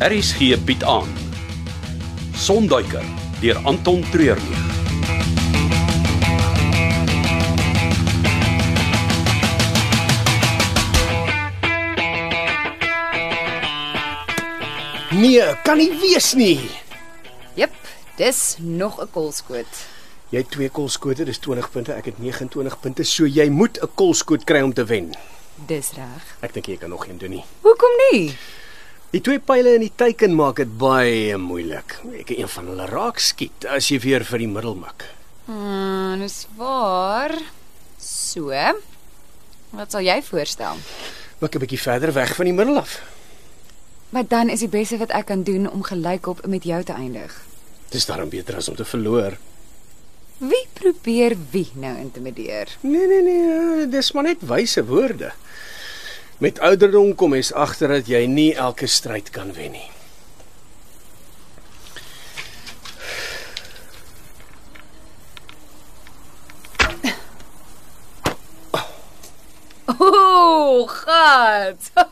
Harris gee bied aan. Sonduiker deur Anton Treurnig. Nee, kan nie wees nie. Jep, dis nog 'n kolskoot. Jy het twee kolskote, dis 20 punte. Ek het 29 punte, so jy moet 'n kolskoot kry om te wen. Dis reg. Ek dink jy kan nog een doen nie. Hoekom nie? Die twee pile in die teiken maak dit baie moeilik. Ek kan een van hulle raak skiet as jy weer vir die middel mik. Mm, dis waar. So. Wat sal jy voorstel? Mik 'n bietjie verder weg van die middel af. Maar dan is die beste wat ek kan doen om gelykop met jou te eindig. Dis daarom beter as om te verloor. Wie probeer wie nou intimideer? Nee nee nee, dis maar net wyse woorde. Met ouderdom kom mens agter dat jy nie elke stryd kan wen nie. Ooh, gat.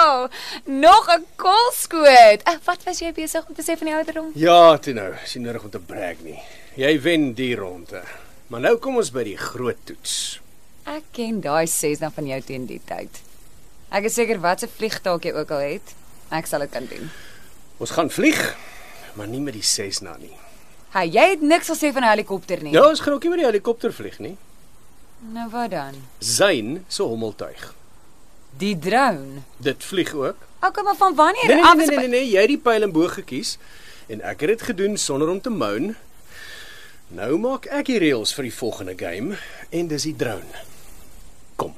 Oh, nog 'n kolskoot. Eh, Wat was jy besig om te sê van die ouderdom? Ja, toe nou, is nie nodig om te brag nie. Jy wen die ronde. Maar nou kom ons by die groot toets. Ek ken daai ses dan van jou teen die tyd. Ek is seker watse vliegtaak jy ook al het, ek sal dit kan doen. Ons gaan vlieg, maar nie met die Cessna nie. Hey, jy het niks gesê van 'n helikopter nie. Ja, ons gaan ook nie met die helikopter vlieg nie. Nou wat dan? Zyn se hommeltuig. Die drone. Dit vlieg ook. Okay, maar van wanneer Nee nee af nee, is- nee nee, nee, jy het die pyl en boog gekies en ek het dit gedoen sonder om te moan. Nou maak ek die reëls vir die volgende game en dis die drone. Kom.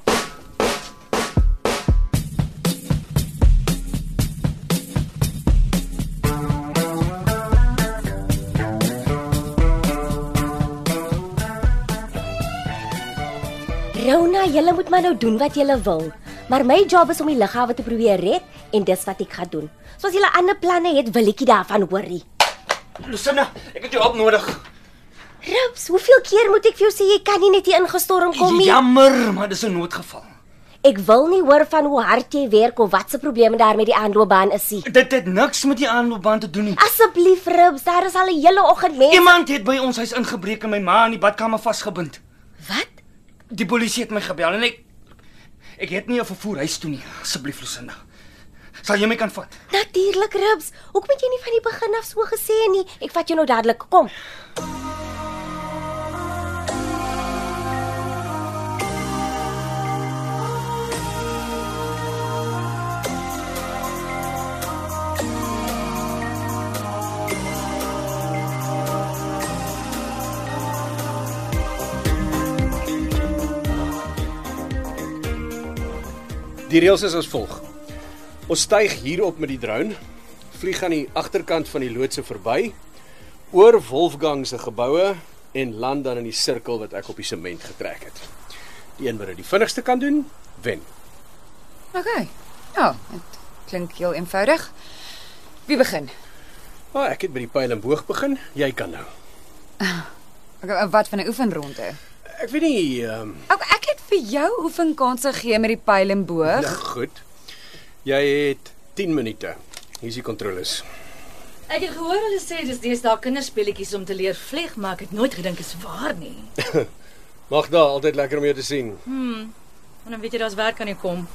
Rona, julle moet maar nou doen wat julle wil. Maar my job is om die lughawe te probeer red en dis wat ek gaan doen. So as julle ander planne het, wil ek nie daarvan hoor nie. Lucinda, ek het jou hulp nodig. Rups, hoeveel keer moet ek vir jou sê jy kan nie net hier ingestorm kom nie? Jammer, maar dis 'n noodgeval. Ek wil nie hoor van hoe hard jy werk of wat se probleme daar met die aanloopbaan is nie. Dit het niks met die aanloopbaan te doen nie. Asseblief, Rups, daar is al 'n hele oggend mense. Iemand het by ons huis ingebreek en my ma in die badkamer vasgebind. Wat? Die polisie het my gebel en ek ek het nie 'n vervoer huis toe nie. Asseblief Lucinda. Sal jy my kan vat? Natuurlik, Rups. Hoekom het jy nie van die begin af so gesê nie? Ek vat jou nou dadelik. Kom. Die reëls is as volg. Ons styg hierop met die drone, vlieg aan die agterkant van die loodse verby, oor Wolfgang se geboue en land dan in die sirkel wat ek op die sement getrek het. Die een wat dit die vinnigste kan doen, wen. nee, Okay. Ja, dit klink heel eenvoudig. Wie begin? Maar ek het by die pyl en boog begin, jy kan nou. Okay, eh, wat van 'n oefenronde? Ek weet nie, ehm Okay, ek het vir jou oefenkanse gegee met die pyl en boog. nou goed. Jy het 10 minute. Hier's die kontroles. Ek het gehoor hulle sê dis deesdae kinderspeletjies om te leer vlieg, maar ek het nooit gedink is waar nie. Magda, altyd lekker om jou te sien. En dan weet jy daar's werk aan die kom.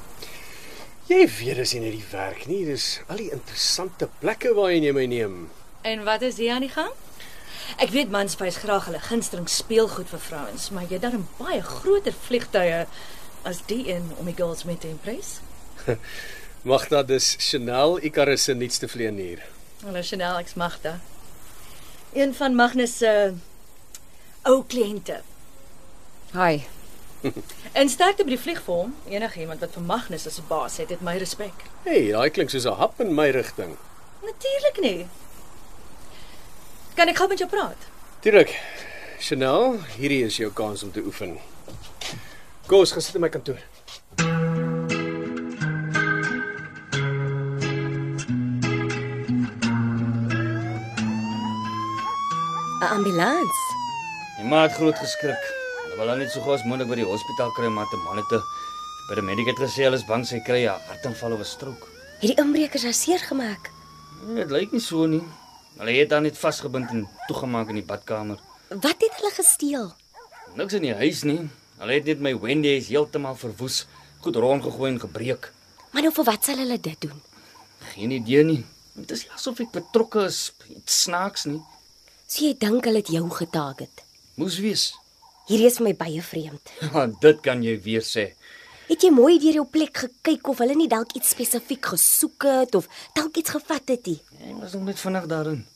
Jy weet dis nie net die werk nie, dis al die interessante plekke waarheen jy my neem. En wat is hier aan die gang? Ek weet mans wys graag hulle gunsteling speelgoed vir vrouens, maar jy het darm baie groter vliegtye as die een om die girls mee te impress. Magda, dis Chanel Icarus se nuutste vleenier. Hallo Chanel, ek's Magda. Een van Magnus se eh, ou kliënte. Ja. Hi. En sterkte by die vlieg vir hom. Enigiemand wat vir Magnus as 'n baas het, het my respek. Hey, daai klink soos 'n hap in my rigting. Natuurlik nie. Kan ek gou met jou praat? Tuurlik. Chanel, hierdie is jou kans om te oefen. Kom ons gaan sit in my kantoor. Een Ambulans. Die ma het groot geskrik. Hulle wil haar net so gou as moontlik by die hospitaal kry maar te monitor. Die paramedic het gesê hulle is bang sy kry 'n hartaanval of 'n strook. Nee, Het die inbrekers haar seer gemaak? Dit lyk nie so nie. Hulle het haar net vasgebind en toegemaak in die badkamer. Wat het hulle gesteel? Niks in die huis nie. Hulle het net my Wendy is heeltemal verwoes, goed rondgegooi en gebreek. Maar nou vir wat sal hulle dit doen? Geen idee nie. Dit is nie asof ek betrokke is by iets snaaks nie. So jy dink hulle het jou getarget. Moes wees. Hierdie is vir my baie vreemd. Ja, dit kan jy weer sê. Het jy mooi deur jou plek gekyk of hulle nie dalk iets spesifiek gesoek het of dalk iets gevat het nie? Ek was nog net vinnig daarin.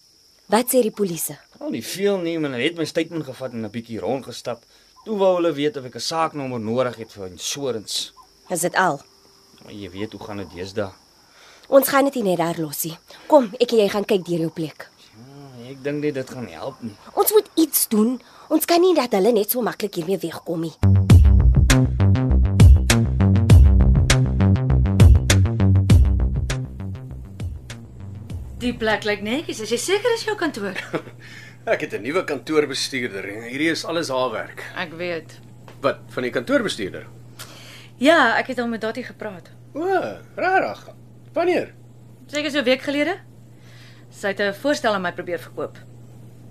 Wat sê die polisie? Al nie veel nie, maar hulle het my statement gevat en 'n bietjie rondgestap. Toe wou hulle weet of ek 'n saaknommer nodig het vir insurance. Is dit al? Maar jy weet hoe gaan dit deesdae. Ons gaan dit nie net daar losie. Kom, ek en jy gaan kyk deur jou plek. Ja, Ek dink nie dit gaan help nie. Ons moet iets doen. Ons kan nie dat hulle net so maklik hiermee wegkom nie. Die plek lyk netjies. As jy seker is jou kantoor. Ek het 'n nuwe kantoorbestuurder en hierdie is alles haar werk. Ek weet. Wat van die kantoorbestuurder? Ja, ek het al met Dottie gepraat. O, regtig? Wanneer? Seker so 'n week gelede. Sy het 'n voorstel aan my probeer verkoop.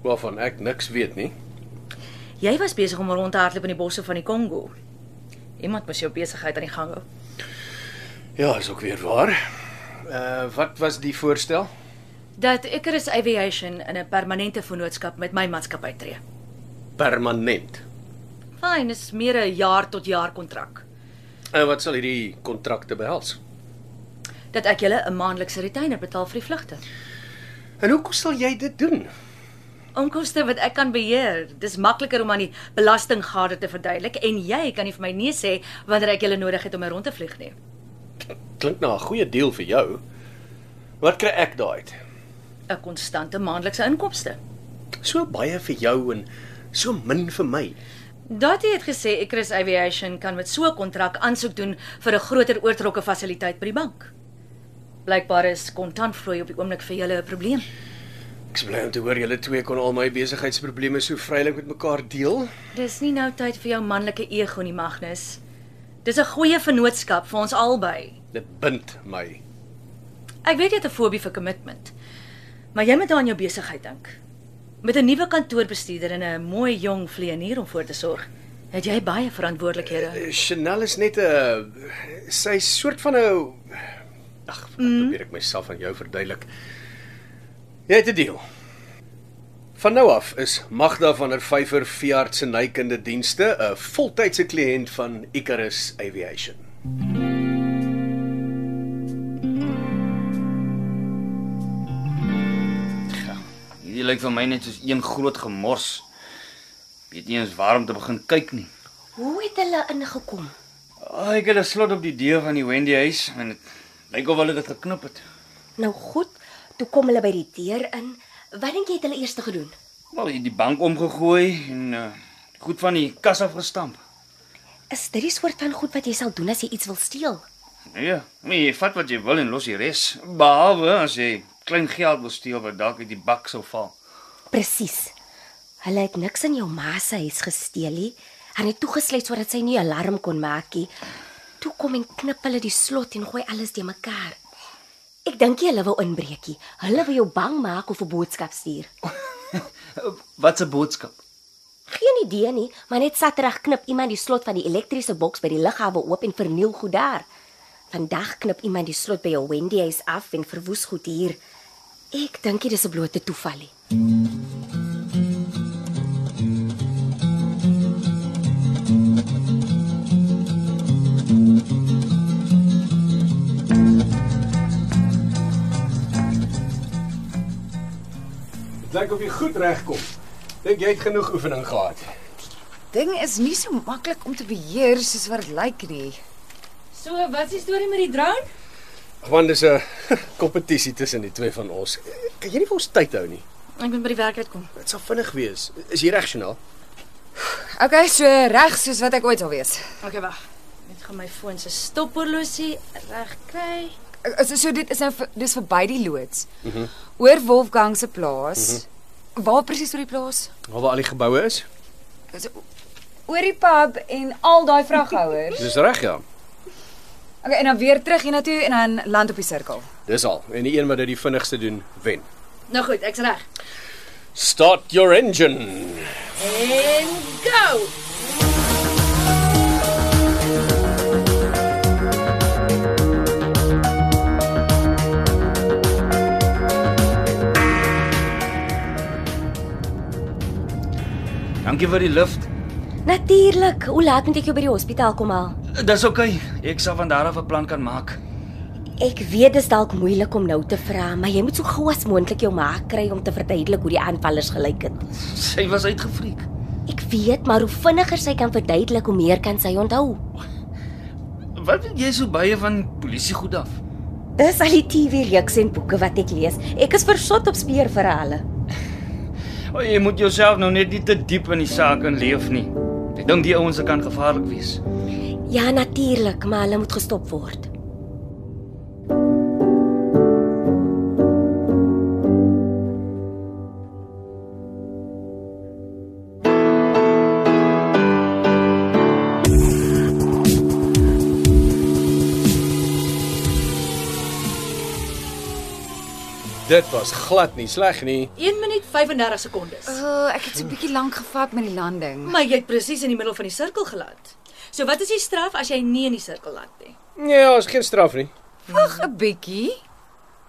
Waarvan ek niks weet nie. Jy was besig om rond te hardloop in die bosse van die Kongo. Iemand moes jou besigheid aan die gang hou. Ja, is ook weer waar. Uh wat was die voorstel? Dat Icarus Aviation in 'n permanente vennootskap met my maatskappy tree. Permanent. Fyn, is meer 'n jaar tot jaar kontrak. En wat sal hierdie kontrakte behels? Dat ek julle 'n maandelikse retainer betaal vir die vlugte. En hoekom sal jy dit doen? Onkoste wat ek kan beheer. Dis makliker om aan die belastinggade te verduidelik en jy kan nie vir my nee sê wanneer ek julle nodig het om my rond te vlieg nie. Klink na 'n goeie deal vir jou. Wat kry ek daai uit? 'n Konstante maandelikse inkomste. So baie vir jou en so min vir my. Dottie het gesê Icarus Aviation kan met so 'n kontrak aansoek doen vir 'n groter oortrokke fasiliteit by die bank. Blykbaar is kontantvloei op die oomblik vir julle 'n probleem. Ek is bly om te hoor julle twee kon al my besigheidsprobleme so vrylik met mekaar deel. Dis nie nou tyd vir jou manlike ego nie, Magnus. Dis 'n goeie vennootskap vir ons albei. Dit bind my. Ek weet jy het 'n fobie vir commitment. Maar jy moet daaraan jou besigheid dink. Met 'n nuwe kantoorbestuurder en 'n mooi jong vleienier om voor te sorg, het jy baie verantwoordelikhede. Chanel is net 'n sy is soort van 'n Ag, wat probeer ek myself aan jou verduidelik? Jy het 'n deal. Van nou af is Magda van der Vyver Veearts se nykende dienste 'n voltydse kliënt van Icarus Aviation. Hierdie lyk vir my net soos een groot gemors. Weet nie eens waar om te begin kyk nie. Hoe het hulle ingekom? Oh, ek het 'n slot op die deur van die Wendy huis en dit lyk of hulle dit geknip het. Nou goed, toe kom hulle by die deur in. Wat dink jy het hulle eers gedoen? Wel, hier die bank omgegooi en uh, goed van die kas af gestamp. Is dit die soort van goed wat jy sal doen as jy iets wil steel? Nee, maar jy vat wat jy wil en los die res, behalwe as jy klein geld wil steel wat dalk uit die bak sou val. Presies. Hulle het niks in jou ma se huis gesteel nie. Hulle het toegesluit sodat sy nie alarm kon maak nie. Toe kom en knip hulle die slot en gooi alles te mekaar. Ek dink nie hulle wou inbreekie. Hulle wou jou bang maak of 'n boodskap stuur. Wat 'n boodskap. Geen idee nie, maar net saterdag knip iemand die slot van die elektriese boks by die lughawe oop en verniel goed daar. Vandag knip iemand die slot by jou Wendy huis af en verwoes goed hier. Ek dink dit is 'n blote toeval nie. Dit lyk of jy goed regkom. Dink jy het genoeg oefening gehad? Ding is nie so maklik om te beheer soos wat dit lyk nie. So, wat is die storie met die drone? Want dis 'n kompetisie tussen die twee van ons. Kan jy nie vir ons tyd hou nie? Ek moet by die werk uitkom. Dit sal vinnig wees. Is jy reg, Chanel? Okay, so reg soos wat ek ooit sal wees. Okay, wag. Net gaan my foon se stopperlosie reg kry. So, so dit is nou vir- dis verby die loods. Mhm. Mm Oor Wolfgang se plaas. Mm Mhm. -hmm. Waar presies oor die plaas? Waar al die geboue is? Is- Oor die pub en al daai vraghouers. Dis reg ja. Okay, en dan weer terug hiernatoe en dan land op die sirkel. Dis al. En die een wat dit die vinnigste doen, wen. Nou goed, ek's reg. Start your engine. En go. Dankie vir die lift. Natuurlik. Hoe laat moet ek jou by die hospitaal kom haal? Dis oukei. Okay. Ek sal van daar af 'n plan kan maak. Ek weet dit is dalk moeilik om nou te vra, maar jy moet so gou as moontlik jou maag kry om te verduidelik hoe die aanvallers gelyk het. Sy was uitgefriek. Ek weet, maar hoe vinniger sy kan verduidelik, hoe meer kan sy onthou. Wat weet jy so baie van polisie goed af? Dis al die TV-reeks en boeke wat ek lees. Ek is versot op speurverhale. O, jy moet jouself nou net nie te diep in die saak inleef nie. Ek dink die ouens kan gevaarlik wees. Ja, natuurlik, maar hulle moet gestop word. Dit was glad nie sleg nie. 1 minuut 35 sekondes. Uh, ek het so 'n bietjie lank gevat met die landing. Maar jy het presies in die middel van die sirkel geland. So wat is die straf as jy nie in die sirkel land nie? Nee, ja, is geen straf nie. Wag 'n bietjie.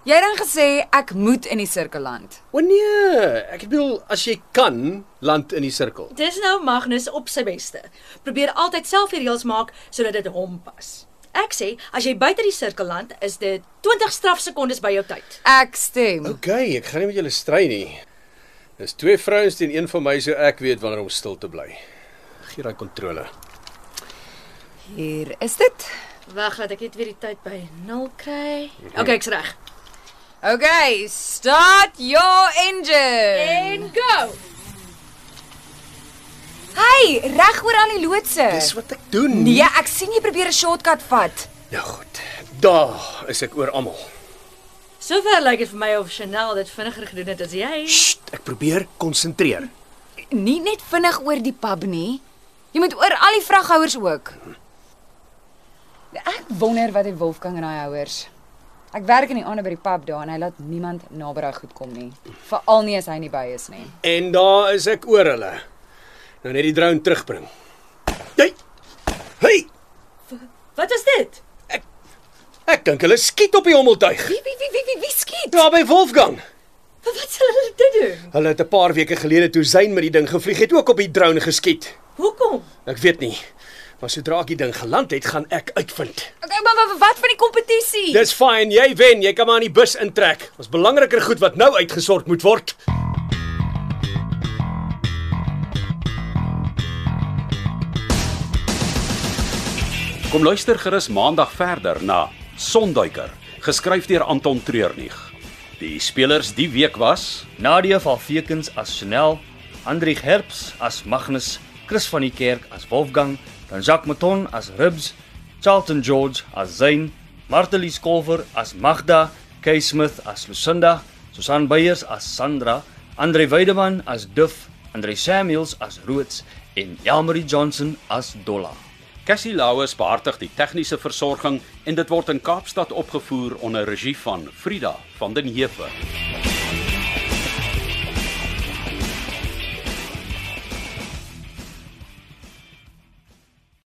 Jy het dan gesê ek moet in die sirkel land. O nee, ek bedoel as jy kan land in die sirkel. Dis nou Magnus op sy beste. Probeer altyd self die reëls maak sodat dit hom pas. Ek sê, as jy buite die sirkel land, is dit 20 strafsekondes by jou tyd. Ek stem. OK, ek gaan nie met julle stry nie. Dis twee vrouens teen een van my so ek weet wanneer om stil te bly. Gee daai kontrole. Hier is dit. Wag, laat ek net weer die tyd by 0 kry. OK, ek's reg. Okay, start your engine. En go. Hey, reg oor aan die loodse. Dis wat ek doen. Nee, ek sien jy probeer 'n shortcut vat. Nou goed. Daar is ek oor almal. Sover lyk dit vir my of Chanel dit vinniger gedoen het as jy. Sst, ek probeer konsentreer. Nie net vinnig oor die pub nie. Jy moet oor al die vraghouers ook. Ek wonder wat die Wolfgang en daai houers. Ek werk in die aande by die pub daar en hy laat niemand naby daai goed kom nie. Veral nie as hy nie by is nie. En daar is ek oor hulle. Nou net die drone terugbring. Hey. Hey, Wat is dit? ek dink hulle skiet op die hommeltuig. Wie wie wie wie wie, wie skiet? Daar by Wolfgang. Wat wat sal hulle dit doen? Hulle het 'n paar weke gelede toe Zayn met die ding gevlieg het ook op die drone geskiet. Hoekom? Ek weet nie. Maar sodra ek die ding geland het, gaan ek uitvind. Okay, maar wat, wat van die kompetisie? Dis fyn, jy wen, jy kan maar in die bus intrek. Ons belangriker goed wat nou uitgesort moet word. Kom luister gerus maandag verder na Sonduiker, geskryf deur Anton Treurnig. Die spelers die week was Nadia van Veekens as Chanel, Andri Herps as Magnus, Chris van die Kerk as Wolfgang, dan Jacques Maton as Ribs, Charlton George as Zain, Martelie Skolver as Magda, Kay Smith as Lucinda, Susan Beyers as Sandra, Andre Weideman as Duff, Andre Samuels as Roots en Elmarie Johnson as Dolla. Cassie Lauers behartig die tegniese versorging en dit word in Kaapstad opgevoer onder regie van Frida van den Heever.